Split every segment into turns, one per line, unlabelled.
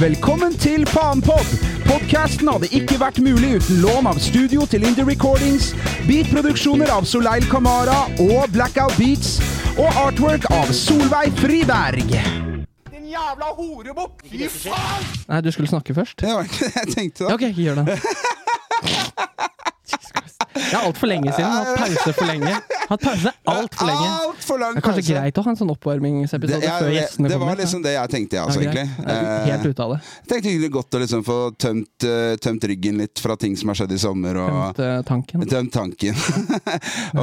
Velkommen til Fanpod! Podkasten hadde ikke vært mulig uten lån av studio til Indie Recordings, beatproduksjoner av Soleil Kamara og Blackout Beats, og artwork av Solveig Friberg.
Din jævla horebukk! Fy faen!
Nei, du skulle snakke først.
Det var ikke det jeg tenkte.
Ja,
da
ok, ikke gjør det. Jesus Christ. Det er altfor lenge siden. Hatt pause for lenge. Hatt pause altfor lenge.
Alt for lang
Det er kanskje
pause.
greit å ha en sånn oppvarmingsepisode
Det, ja,
før gjestene
det, det
kommer.
var liksom det jeg tenkte, jeg
Ja,
også,
greit.
egentlig.
Jeg er
Eh,
Helt ute av det.
tenkte egentlig godt å liksom få tømt, eh, tømt ryggen litt fra ting som har skjedd i sommer. og...
Tømte tanken.
Tømt tanken.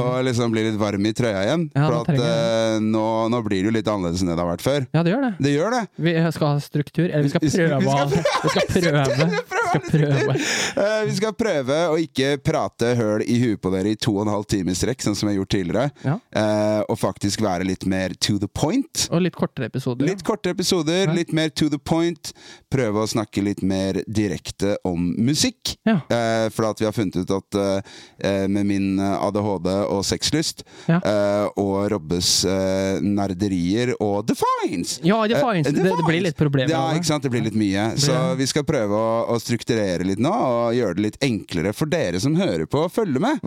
og liksom bli litt varm i trøya igjen.
Ja,
for
nå
at eh, nå, nå blir det jo litt annerledes enn det det har vært før.
Ja, det gjør det.
Det gjør det!
Vi skal ha struktur. Eller vi skal
Vi skal-
prøve.
vi skal
å- Vi skal prøve. Vi skal prøve.
Eh, vi skal prøve å ikke prate høl i huet på dere i to og en halv time i strekk, sånn som jeg har gjort tidligere.
Ja.
Eh, og faktisk være litt mer to the point.
Og litt kortere episoder.
Litt korte episoder,
Ja.
litt mer to the point. Prøve å snakke litt mer direkte om musikk.
Ja.
Eh, for at vi har funnet ut at eh, med min eh, ADHD og sexlyst,
Ja.
eh, og Robbes eh, nerderier og defines
Ja, det, får-
Eh,
det, det blir litt problemer.
Ja,
av det.
ikke sant? Det blir litt mye. Så
blir-
vi skal prøve å, å strukturere litt nå, og gjøre det litt enklere for dere som hører på, å følge med.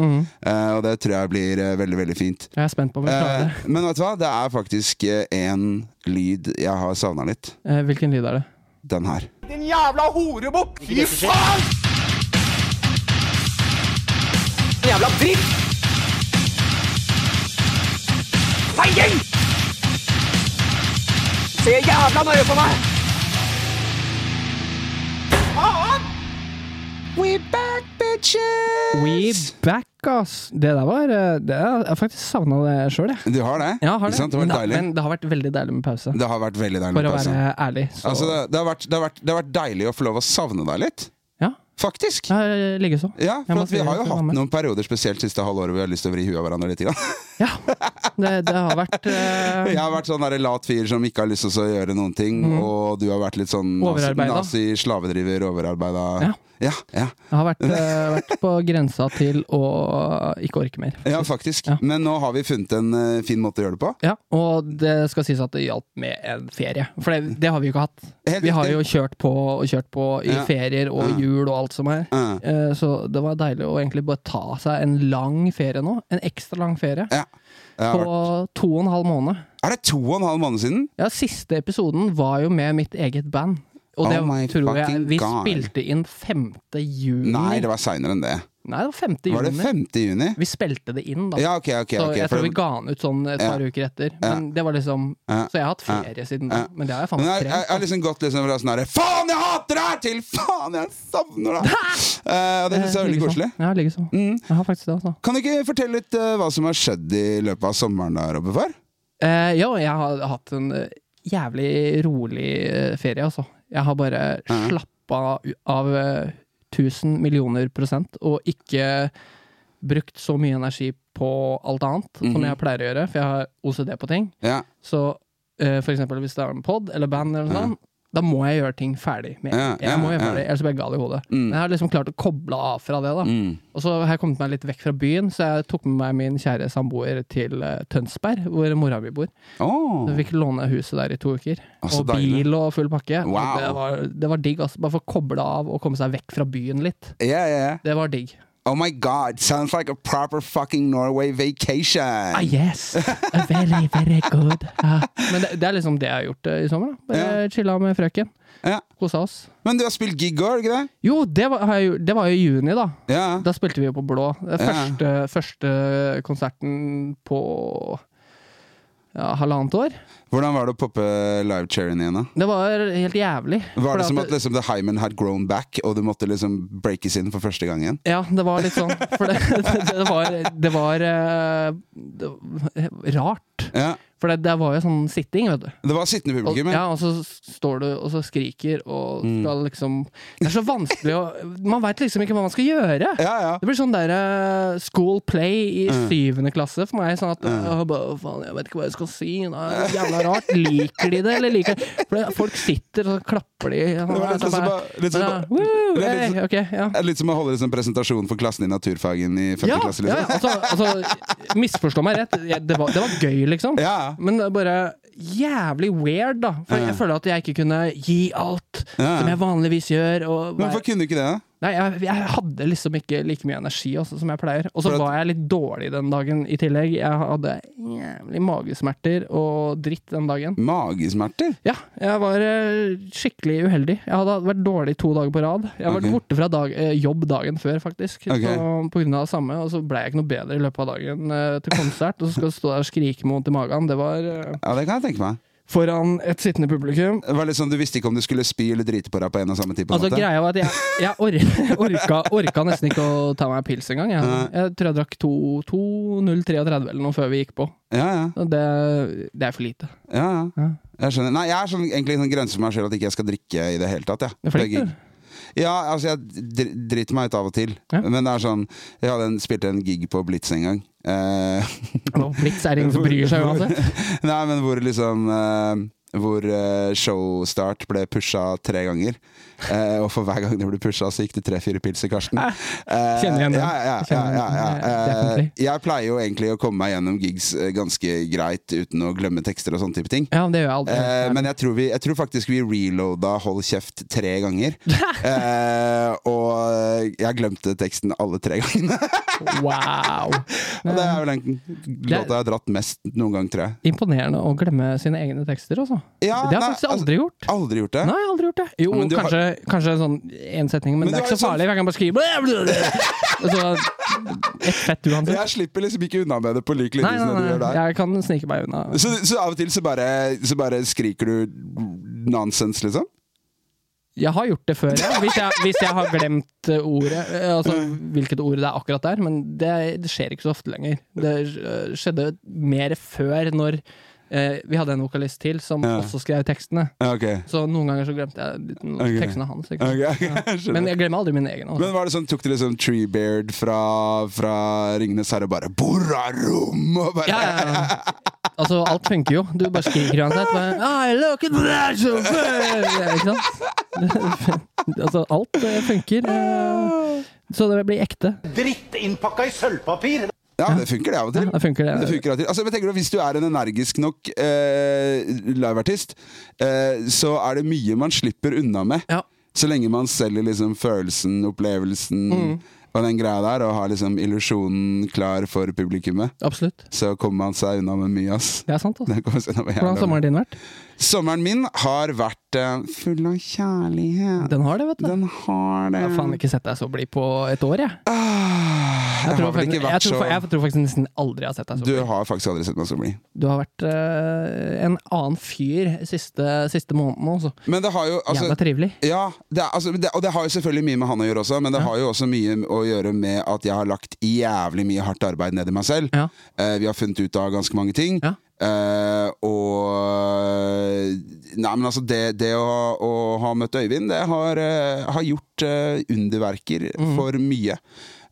Eh, og det tror jeg blir eh, veldig, veldig fint.
Jeg er spent på om Mm. vi klarer det.
Eh, men vet du hva? Det er faktisk én lyd jeg har savna litt.
Eh, Hvilken lyd er det?
Den her.
Din jævla horebukk! Fy faen! Din jævla dritt! Feiring! Se jævla nøye på meg! Faen!
We back, bitches!
We back, ass! Det der var eh, det, Jeg har faktisk savna det sjøl, jeg.
Du har det?
Ja, har
Ikke
det.
sant? Det var
men,
deilig.
men det har vært veldig deilig med pause.
Det har vært veldig deilig
For
med
å
pause.
være ærlig. Så
Altså, det, det, har vært, det, har vært, det har vært deilig å få lov å savne deg litt.
ja.
Faktisk.
Jeg eh, ligger så.
Ja,
Jeg
for
må
at vi
si
har jo
det
hatt
samme.
noen perioder, spesielt siste halvåret, vi har lyst til å vri huet av hverandre litt. Grann.
Ja. Det, det har vært eh,
Jeg har vært sånn der lat fyr som ikke har lyst til å gjøre noen ting,
Mhm.
og du har vært litt sånn nazi-
Overarbeida.
nazi-slavedriver, overarbeida.
Ja.
Ja, ja,
Jeg har vært, eh, vært på grensa til å ikke orke mer.
ja, faktisk.
Ja.
Men nå har vi funnet en eh, fin måte å gjøre det på.
Ja, og det skal sies at det hjalp med en ferie, for det, det har vi jo ikke hatt.
Helt
Vi har
riktig.
jo kjørt på og kjørt på i
Ja.
ferier og jul og alt som er.
Ja.
Eh, Så det var deilig å egentlig bare ta seg en lang ferie nå. En ekstra lang ferie.
Ja. Det har vært-
På to og en halv måned.
Er det to og en halv måned siden?
Ja, siste episoden var jo med mitt eget band. Og
Oh
det
my
tror jeg
fucking
Vi
God.
spilte inn 5. juni.
Nei, det var seinere enn det.
Nei, det var 5. Mm. juni.
Var det 5. juni?
Vi spilte det inn, da.
Ja, ok, ok.
så
ok,
jeg
for
tror vi
det-
ga den ut sånn et par uker etter. Men det var liksom
Ja.
Så jeg har hatt ferie siden da.
Ja.
Men det har jeg faen
Men jeg,
meg
jeg, jeg har
trent.
liksom gått liksom fra sånn herre Faen, jeg hater deg! Til faen, jeg savner deg! Eh, og det syns jeg er veldig
Ligger
koselig. Mm.
sånn. Ja, ligger sånn. Jeg har faktisk det, altså.
Kan du ikke fortelle litt eh, hva som har skjedd i løpet av sommeren, da, Robbefar?
Eh, jo, jeg har hatt en eh, jævlig rolig eh, ferie, altså. Jeg har bare slappa u- av eh, 1000 millioner prosent, og ikke brukt så mye energi på alt annet
Mhm.
som jeg pleier å gjøre, for jeg har OCD på ting.
Ja.
Så eh, for eksempel hvis det er en pod eller band eller noe sånt, da må jeg gjøre ting ferdig. Med. en
Ja,
gang. jeg må
ja, Mm.
gjøre
ja.
ferdig, Ellers blir jeg gal i hodet. Men jeg har liksom klart å koble av fra det. da
Mm.
Og så har jeg kommet meg litt vekk fra byen, så jeg tok med meg min kjære samboer til eh, Tønsberg, hvor mora mi bor.
Åh.
Så vi fikk låne huset der i to uker.
Å, så
og
deilig.
bil og full pakke. Og
Wow.
Det, var, det var digg, altså. Bare for å koble av og komme seg vekk fra byen litt.
Ja, ja, ja.
Det var digg.
Oh my god, sounds like a proper fucking Norway vacation!
Ah, yes! Very, very good. Ja. Men det, det er liksom det jeg har gjort eh, i sommer. da Bare chilla med frøken.
Ja.
Kosa oss.
Men du har spilt gig òg, ikke det?
Jo, det var, har jeg, jo- det var jo i juni, da.
Ja.
Da spilte vi jo på Blå. Det Første, første konserten på ja, halvannet år.
Hvordan var det å poppe live-cherryen igjen, da?
Det var helt jævlig.
Var
Fordi
det som
at-
at liksom, The Hymen had grown back, og du måtte liksom breakes inn for første gang igjen?
Ja, det var litt sånn. For det, det, det var, det var eh, det, var rart.
Ja.
For det, det var jo sånn sitting, vet du.
Det var sittende
Og,
publikum,
ja, og så står du og så skriker og
Mm.
skal liksom Det er så vanskelig å Man veit liksom ikke hva man skal gjøre.
ja. Mm. ja.
Det blir sånn der eh, school play i syvende klasse for meg. Sånn at
Mm.
«Åh, bare, faen, Jeg vet ikke hva jeg skal si. Det er jævla rart. Liker de det, eller liker de For det- Folk sitter og så klapper de.
Det var litt sånn som bare, litt sånn,
Ja,
det er
woo,
litt
hey,
sånn-
ok, ja.
Det er Litt som å holde liksom presentasjon for klassen i naturfagen i 5.
Ja,
klasse.
ja,
Liksom.
altså, altså misforstå meg rett. Jeg, det, var, det var gøy, liksom.
Ja.
Men det er bare jævlig weird, da. For jeg føler at jeg ikke kunne gi alt
Ja.
som jeg vanligvis gjør. Og
Men Hvorfor kunne du ikke det? da?
Nei, jeg, jeg hadde liksom ikke like mye energi også, som jeg pleier. Og så
For at-
var jeg litt dårlig den dagen i tillegg. Jeg hadde jævlig magesmerter og dritt den dagen.
Magesmerter?
Ja, jeg var eh, skikkelig uheldig. Jeg hadde vært dårlig to dager på rad. Jeg har vært
Ok.
borte fra dag, eh, jobb dagen før, faktisk,
Ok.
så, på grunn av det samme. Og så ble jeg ikke noe bedre i løpet av dagen eh, til konsert. Og så skal du stå der og skrike med vondt i magen. Det var eh,
Ja, det kan jeg tenke meg.
foran et sittende publikum.
Det var litt sånn, Du visste ikke om du skulle spy eller drite på deg på en og samme tid? på en
Altså,
måte
greia var at jeg, jeg or orka, orka nesten ikke å ta meg en pils engang. Jeg, jeg tror jeg drakk to- 2.033 eller noe før vi gikk på.
Ja, ja,
Så Det, det er for lite.
ja, ja. Jeg
Ja.
skjønner. Nei, jeg er sånn, egentlig sånn grense for meg selv at ikke jeg skal drikke i det hele tatt. Ja.
Det er
Det
flink,
er
du.
gig. ja, altså Jeg dr- driter meg ut av og til.
Ja.
Men det er sånn Jeg hadde en, spilte en gig på Blitz en gang. Eh,
Nå, Blitz er det ingen som bryr seg uansett.
Nei, men hvor liksom eh, Hvor eh, showstart ble pusha tre ganger. Eh, og for hver gang det ble pusha, så gikk det tre-fire pils i Karsten. Eh,
kjenner igjen det.
ja, ja,
Jeg
ja,
kjenner
ja,
igjen det.
ja.
Nei,
Eh,
definitely.
Jeg pleier jo egentlig å komme meg gjennom gigs eh, ganske greit uten å glemme tekster og sånne type ting.
Ja, men det gjør jeg aldri.
Eh, men jeg tror, vi, jeg tror faktisk vi reloada Hold kjeft tre ganger. Eh, og jeg glemte teksten alle tre gangene.
Wow!
Og det er vel den låta jeg har dratt mest noen gang, tror jeg.
Imponerende å glemme sine egne tekster, altså.
Ja,
det har
nei,
jeg faktisk
altså-
aldri gjort.
Aldri gjort det.
Nei, jeg har aldri gjort det. Jo,
Men du har-
kanskje, kanskje en sånn én setning, men,
Men
det
du
er
har sånn-
ikke så farlig. Jeg kan bare skrive Og så Ett fett uansett.
Jeg slipper liksom ikke unna med det på lik linje
Nei,
som det du
nei,
gjør
nei,
der.
jeg kan snike meg unna.
Så, så av og til så bare, så bare skriker du nonsens, liksom?
Jeg har gjort det før, ja. hvis, jeg, hvis jeg har glemt eh, ordet. eh, Altså hvilket ord det er akkurat der, men det, det skjer ikke så ofte lenger. Det eh, skjedde mer før, når eh, vi hadde en vokalist til som
Ja.
også skrev tekstene.
Ja, Ok.
Så noen ganger så glemte jeg litt-
Ok.
tekstene hans. Ikke? sant?
Ok, ok, jeg skjønner.
Men jeg glemmer aldri mine egne.
Men
Altså.
var det sånn, tok du liksom Treebeard fra, fra Ringenes herre og bare Borarom! Og bare,
Ja, ja, ja. Altså, alt funker jo. Du bare skriker uansett. Bare, "Ah, I look at that so good!» Ikke sant? altså, alt eh, funker. eh, Så det blir ekte.
Drittinnpakka i sølvpapir.
Ja, det funker det av og til.
Ja, det funker, det.
Det funker av og til. Altså, men tenker du, Hvis du er en energisk nok eh, liveartist, eh, så er det mye man slipper unna med.
Ja.
Så lenge man selger liksom følelsen, opplevelsen
Mm.
og den greia der, og har liksom illusjonen klar for publikummet,
Absolutt.
så kommer man seg unna med mye, ass.
Det er sant. Altså.
Det kommer seg unna med
Hvordan
jævla
har sommeren din vært?
mye. Sommeren min har vært eh, full av kjærlighet.
Den har det, vet du.
Den har det.
Jeg har faen ikke sett deg så blid på et år, jeg. Jeg,
Ah, jeg,
tror,
har vel
faktisk,
ikke
jeg,
vært
tror,
så
fa- jeg tror faktisk nesten aldri jeg har sett deg så
Du
blid.
har faktisk aldri sett meg så blid.
Du har vært eh, en annen fyr siste, siste måneden også.
Men det har jo altså,
Jævla trivelig.
Ja, det er, altså, det, og det har jo selvfølgelig mye med han å gjøre også, men det har jo også mye å gjøre med at jeg har lagt jævlig mye hardt arbeid ned i meg selv.
Ja.
Eh, vi har funnet ut av ganske mange ting.
Ja.
Eh, og Nei, men altså, det, det å, å ha møtt Øyvind, det har, eh, har gjort eh, underverker
Mhm.
for mye.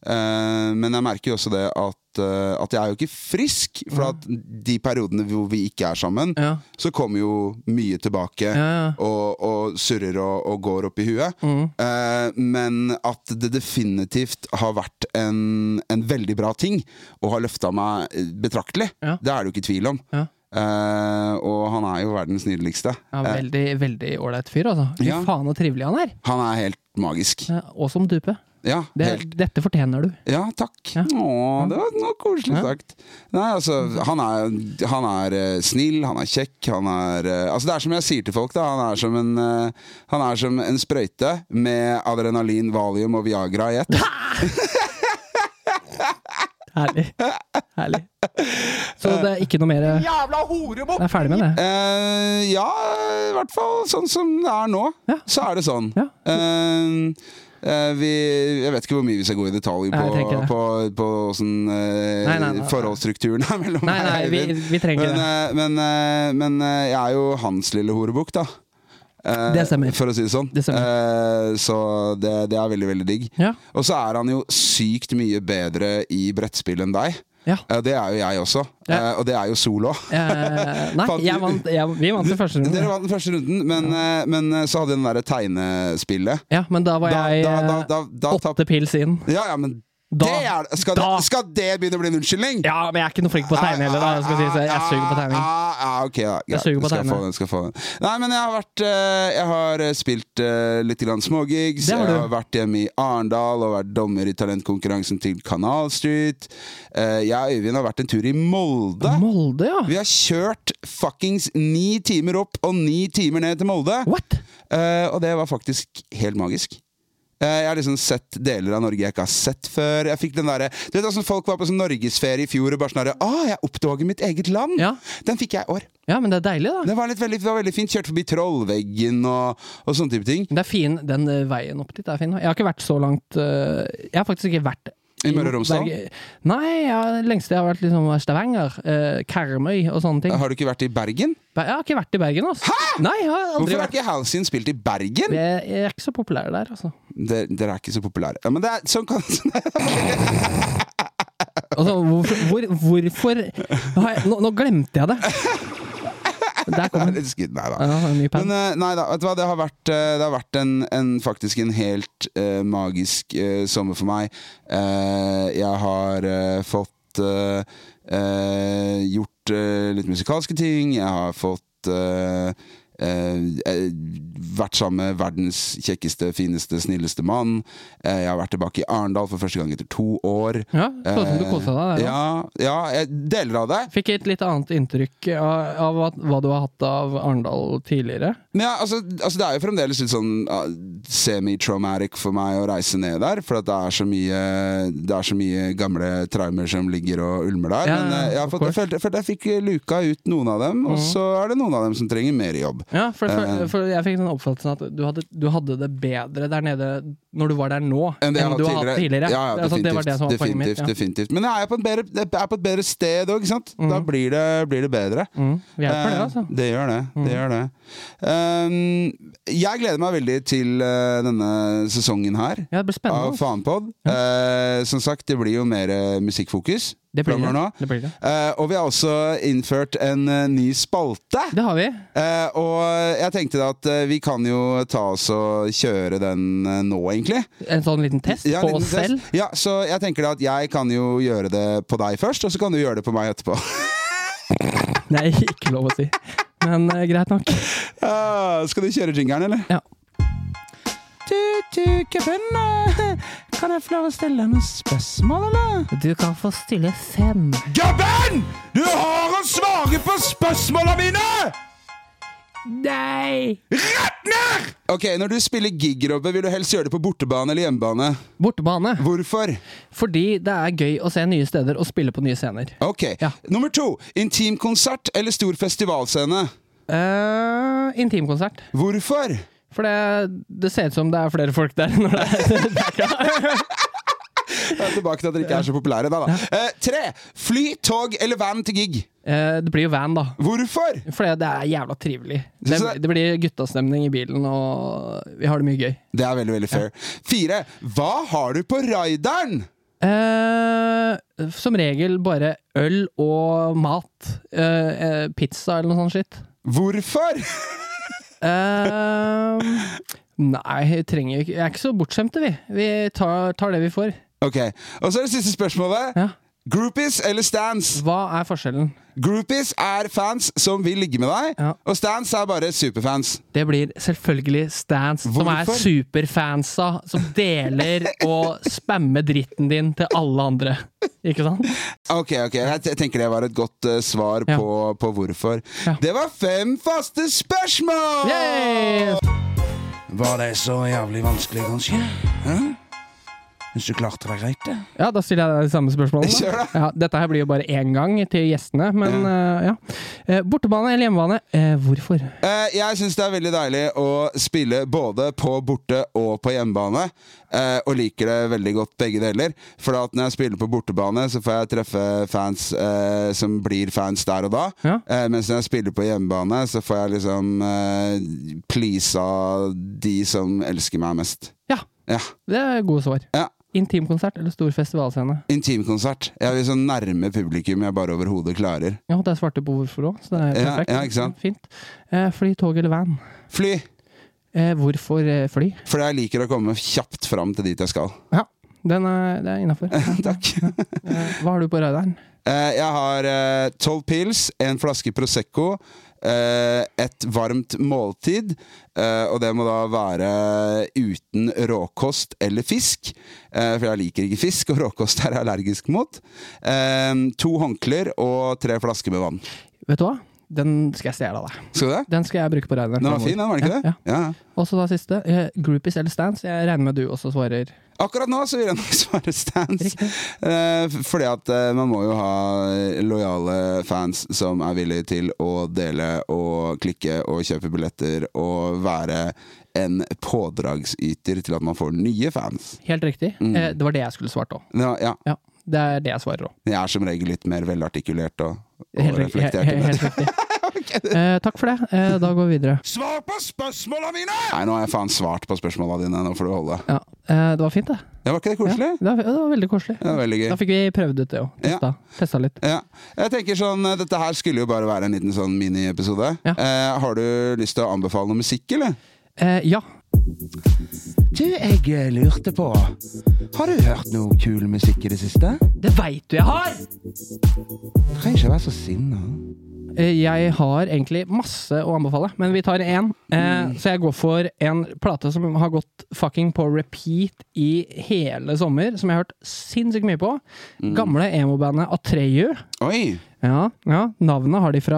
Eh, men jeg merker jo også det at, eh, at jeg er jo ikke frisk. For at de periodene hvor vi ikke er sammen,
Mhm. Ja.
så kommer jo mye tilbake
ja.
og, og surrer og, og går opp i huet.
Mm.
Eh, men at det definitivt har vært en, en veldig bra ting, og har løfta meg eh, betraktelig.
Ja.
Det er det jo ikke tvil om.
Ja.
Eh, og han er jo verdens nydeligste.
Ja,
Eh,
veldig veldig ålreit fyr, altså. Fy
Ja.
faen så trivelig han er!
han er helt magisk.
Ja, Og som dupe.
Ja,
Det,
helt.
dette fortjener du.
Ja, takk.
Ja.
Åh, det var noe koselig sagt. Nei, altså, han er, han er eh, snill, han er kjekk, han er eh, Altså, det er som jeg sier til folk, da. Han er som en, eh, han er som en sprøyte med adrenalin, valium og Viagra i ett.
Herlig. Herlig. Så det er ikke noe mer Jeg
Jævla horebukk!
er ferdig med det.
Eh, ja, i hvert fall sånn som det er nå,
Ja.
så er det sånn.
Ja.
Eh, eh, vi, jeg vet ikke hvor mye vi skal gå i detalj på,
Nei, jeg tenker det.
på, på åssen eh,
Nei, nei, nei.
forholdsstrukturen er mellom
Nei, nei,
meg og
vi,
Øyvind.
vi trenger
Men,
det.
eh, men, eh, men eh, jeg er jo hans lille horebukk, da. Eh,
Det stemmer.
For å si det sånn.
Det
Eh, så det, det er veldig, veldig digg.
Ja.
Og så er han jo sykt mye bedre i brettspill enn deg.
ja.
Eh, det er jo jeg også.
Ja.
Eh, og det er jo Sol òg.
Eh, nei,
Faen,
jeg
du-
vant, jeg, vi vant den første
Dere
runden.
vant den første runden, men, eh, men eh, så hadde vi den derre tegnespillet.
Ja, men da var
Da-
jeg
da-
eh,
da- da- da tap-
åtte pils inn.
Ja, ja, men
Da,
det er, skal,
da.
Det, skal det begynne å bli en unnskyldning?
Ja, men jeg er ikke noe flink på å tegne heller, da. Jeg skal si så jeg suger på tegning.
Ja, ja, ah, ok, da. Greit.
suger på
Skal jeg
tegning.
få den, skal jeg få den. Nei, men jeg har vært eh, Jeg har eh, spilt eh, litt grann smågigs.
Det har
Jeg
du.
har vært hjemme i Arendal og vært dommer i talentkonkurransen til Kanal Street. Eh, jeg og Øyvind har vært en tur i Molde.
Molde, ja.
Vi har kjørt fuckings ni timer opp og ni timer ned til Molde.
What?
Eh, og det var faktisk helt magisk. Eh, jeg har liksom sett deler av Norge jeg ikke har sett før. Jeg fikk den derre Du vet da sånn Folk var på sånn norgesferie i fjor og bare sånn derre Å, jeg oppdager mitt eget land!
Ja.
Den fikk jeg i år.
Ja, men det er deilig, da.
Det var, litt, veldig, det var veldig fint. Kjørte forbi Trollveggen og, og sånne type ting.
Men Det er fin, Den eh, veien opp dit er fin. da. Jeg har ikke vært så langt eh, Jeg har faktisk ikke vært
I Møre og Romsdal?
Berge- Nei, ja, det lengste jeg har vært liksom Stavanger, eh, Karmøy og sånne ting.
Har du ikke vært i Bergen?
Ber- Jeg har ikke vært i Bergen, altså. Hæ?! Nei, jeg har aldri
Hvorfor har
vært
ikke Halcyon spilt i Bergen?
jeg, jeg er ikke så populær der, altså.
Dere, dere er ikke så populære. Ja, men det er, sånn kan,
altså hvorfor, hvor, hvorfor har jeg, nå, nå glemte jeg det! Der kom den.
Nei da.
Ja, det var en ny
Men
pen.
eh, nei da, vet du hva, det har vært, eh, det har vært en, en, faktisk en helt eh, magisk eh, sommer for meg. Eh, jeg har eh, fått eh, eh, gjort eh, litt musikalske ting. Jeg har fått eh, eh, eh, vært sammen med verdens kjekkeste, fineste, snilleste mann. Eh, jeg har vært tilbake i Arendal for første gang etter to år. Eh,
Ja, så ut som du kosa deg der. da.
Ja, ja jeg, deler av det.
Fikk et litt annet inntrykk av, av at- hva du har hatt av Arendal tidligere.
Men ja, altså, altså Det er jo fremdeles litt sånn ah, semi-traumatic for meg å reise ned der. For at det er så mye Det er så mye gamle traumer som ligger og ulmer der.
Ja,
Men eh, jeg, har
of Mhm.
fått, jeg, følte, jeg følte jeg fikk luka ut noen av dem, og så er det noen av dem som trenger mer jobb.
Ja, for, for,
Eh.
for jeg fikk den oppfattelsen at du hadde, du hadde det bedre der nede når du var der nå, enn,
jeg
du
har
har hatt
Ja,
tidligere.
ja,
altså,
definitivt,
det var det som var poenget mitt.
definitivt,
Ja.
definitivt. Men jeg er på, en bedre, jeg er på et bedre sted òg, ikke sant? Da blir det, blir det bedre.
Mm, Mhm. vi hjelper det,
Eh,
altså.
Det gjør det. det, gjør det. Um, jeg gleder meg veldig til eh, denne sesongen her.
Ja, det blir spennende.
av
altså.
Fanpod. Eh, som sagt, det blir jo mer eh, musikkfokus
Det blir
fremover
det.
nå.
Det blir det.
Eh, og vi har også innført en eh, ny spalte.
Det har vi.
Eh, og jeg tenkte da at eh, vi kan jo ta oss og kjøre den eh, nå, egentlig.
En sånn liten test
Ja, en
på
liten
oss
test.
selv.
Ja, så jeg tenker da at jeg kan jo gjøre det på deg først, og så kan du gjøre det på meg etterpå.
Nei, ikke lov å si. Men eh, greit nok.
Ah, skal du kjøre jingeren, eller?
Ja.
eh, kan jeg få lov å stille noen spørsmål, eller?
Du kan få stille fem.
Gabben! Du har å svare på spørsmåla mine!
Nei!
Ok, Når du spiller gig, Robbe, vil du helst gjøre det på bortebane eller hjemmebane?
Bortebane.
Hvorfor?
Fordi det er gøy å se nye steder og spille på nye scener.
Ok,
Ja.
Nummer to. Intimkonsert eller stor festivalscene?
Eh, intimkonsert.
Hvorfor?
For det, det ser ut som det er flere folk der når det er
Jeg er tilbake til at dere ikke er så populære. Da, da. Eh, tre. Fly, tog eller van til gig?
Eh, Det blir jo van, da.
Hvorfor?
For det er jævla trivelig. Det,
Synes du det-
det blir guttastemning i bilen, og vi har det mye gøy.
Det er veldig veldig fair. Fire. Hva har du på raideren?
Eh, som regel bare øl og mat. Eh, eh, pizza eller noe sånt shit.
Hvorfor?
Eh, nei, jeg trenger jo ikke Jeg er ikke så bortskjemte, vi. Vi tar, tar det vi får.
Ok, Og så er det siste spørsmålet.
Ja.
Groupies eller stands?
Hva er forskjellen?
Groupies er fans som vil ligge med deg,
Ja.
og stands er bare superfans.
Det blir selvfølgelig Stans, som er
Hvorfor?
superfansa, som deler og spammer dritten din til alle andre. Ikke sant?
Ok, ok, jeg te- tenker det var et godt eh, svar
Ja.
på, på hvorfor.
Ja.
Det var fem faste spørsmål!
Yay!
Var det så jævlig vanskelig, kanskje? Hæ? Hvis du klarte deg greit, det.
Ja, da stiller jeg deg de samme spørsmålene. da.
Kjør
Ja, dette her blir jo bare én gang til gjestene, men eh, ja. Eh, Bortebane eller hjemmebane? Eh, hvorfor?
Eh, jeg syns det er veldig deilig å spille både på borte og på hjemmebane. eh, og liker det veldig godt begge deler. For at når jeg spiller på bortebane, så får jeg treffe fans eh, som blir fans der og da.
Ja.
Eh, mens når jeg spiller på hjemmebane, så får jeg liksom uh, pleasa de som elsker meg mest.
Ja,
Ja.
det er gode svar.
ja.
Intimkonsert eller stor festivalscene?
Intimkonsert. Jeg vil så nærme publikum jeg bare overhodet klarer.
Ja, der svarte du på hvorfor òg, så det er
Ja,
perfekt.
ja, ikke sant?
Fint. Eh, fly, tog eller van?
Fly!
Eh, hvorfor eh, fly?
Fordi jeg liker å komme kjapt fram til dit jeg skal.
Ja, Den er, det er innafor.
Takk.
Hva har du på radaren?
Eh, jeg har tolv pils, en flaske Prosecco, eh, et varmt måltid. eh, og det må da være uten råkost eller fisk. eh, for jeg liker ikke fisk, og råkost er jeg allergisk mot. Eh, to håndklær og tre flasker med vann.
Vet du hva? Den skal jeg stjele av deg.
Skal du det?
Den skal jeg bruke på radaren.
Den var fin, den, var den ikke
Ja,
det? Ja. ja.
Og så da siste. eh, Groupies eller stands? Jeg regner med du også svarer
Akkurat nå så vil jeg nok svare stands. Eh, f- fordi at eh, man må jo ha lojale fans som er villige til å dele og klikke og kjøpe billetter og være en pådragsyter til at man får nye fans.
helt riktig.
Mm.
Eh, Det var det jeg skulle svart òg.
Ja, ja,
Ja, det er det jeg svarer òg.
jeg er som regel litt mer velartikulert og, og
Helt, riktig- he-
reflektert.
he-
enn det.
helt riktig. Eh, takk for det. Eh, da går vi videre.
Svar på spørsmåla mine!
Nei, nå har jeg faen svart på spørsmåla dine. Nå får du holde.
Ja, eh, det var fint, det.
Det var ikke det
Ja,
koselig?
det, var, det var veldig koselig.
Det var veldig gøy.
Da fikk vi prøvd ut det òg.
Ja.
Testa, testa litt.
Ja. Jeg tenker sånn, eh, Dette her skulle jo bare være en liten sånn miniepisode.
Ja.
Eh, har du lyst til å anbefale noe musikk, eller?
Eh, ja.
Du, jeg eh, lurte på Har du hørt noe kul musikk i det siste?
Det veit du jeg har!
Trenger ikke være så sinna.
Eh, Jeg har egentlig masse å anbefale, men vi tar én.
Mm.
Eh, så jeg går for en plate som har gått fucking på repeat i hele sommer, som jeg har hørt sinnssykt mye på.
Mm.
Gamle emo-bandet Atreyu.
Oi!
Ja, ja, navnet har de fra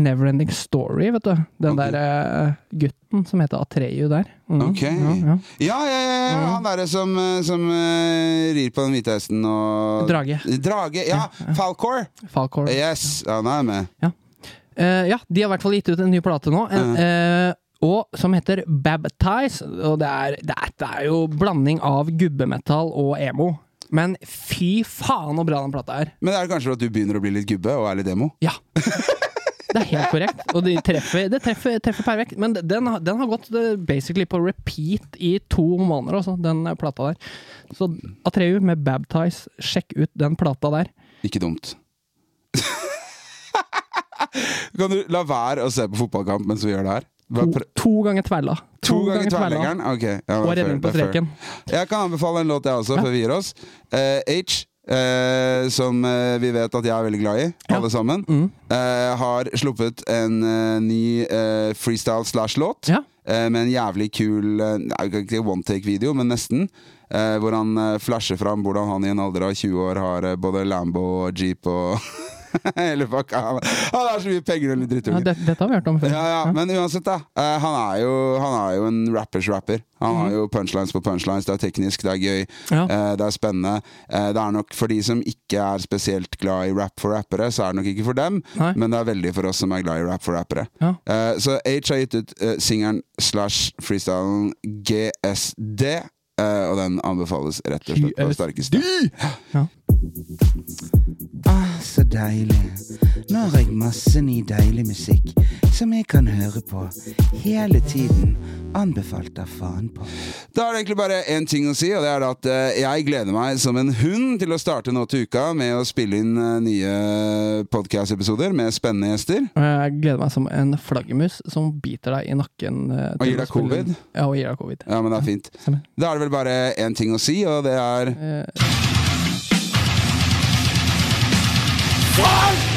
Neverending Story, vet du. Den
Ok.
der eh, gutten som heter Atreyu der. Mm,
Ok.
Ja, ja.
Ja, ja, ja,
Mm.
ja. han derre som, eh, som eh, rir på den hvite hesten og
Drage.
Drage, ja. Falcor.
Falcor.
Yes, han er med.
Eh, ja, de har i hvert fall gitt ut en ny plate nå. En, eh, og som heter Baptize. Og det er, det, er, det er jo blanding av gubbemetall og emo. Men fy faen så bra den plata er!
Men det er kanskje for at du begynner å bli litt gubbe og er litt emo?
Ja. Det er helt korrekt. Og de treffer, det treffer, treffer perfekt. Men den, har- den har gått eh, basically på repeat i to måneder, altså, den eh, plata der. Så Atreu med Baptize, sjekk ut den plata der.
Ikke dumt. kan du la være å se på fotballkamp mens vi gjør det her? Bare
To,
prø-
to ganger tverla.
To ganger tverrleggeren? Ok. ja, det er
Og
fair,
redning på
det er fair.
streken.
Jeg kan anbefale en låt, jeg også, før vi gir oss. Eh, H, eh, som eh, vi vet at jeg er veldig glad i, alle sammen,
Mm.
eh, har sluppet en eh, ny eh, freestyle-slash-låt.
Ja.
eh, med en jævlig kul eh, nei, Ikke one-take-video, men nesten. eh, hvor han eh, flasher fram hvordan han i en alder av 20 år har eh, både Lambo og Jeep og Hele pakka. Han han har så mye penger og litt
Ja,
drittunge.
det, dette har vi hørt om før.
Ja, ja, men uansett, da. eh, han, er jo, han er jo en rappers rapper. Han har jo punchlines på punchlines. Det er teknisk, det er gøy,
Mhm. Ja.
eh, det er spennende. Eh, det er nok for de som ikke er spesielt glad i rap for rappere, så er det nok ikke for dem,
Nei.
men det er veldig for oss som er glad i rap for rappere.
Ja.
Eh, så H har gitt ut eh, singelen slash freestylen GSD, eh, og den anbefales rett og slett på det sterkeste.
Ah, så deilig. Nå har jeg masse ny deilig musikk som jeg kan høre på hele tiden. Anbefalt av faen på.
Da er det egentlig bare én ting å si, og det er at eh, jeg gleder meg som en hund til å starte nå til uka med å spille inn eh, nye podkast-episoder med spennende gjester.
Og jeg gleder meg som en flaggermus som biter deg i nakken. eh, til
Og gir
å
deg
spille inn.
covid?
Ja, og gir deg covid.
Ja, men det er fint.
Stemmer.
Da er det vel bare én ting å si, og det er
Eh,
Fuck!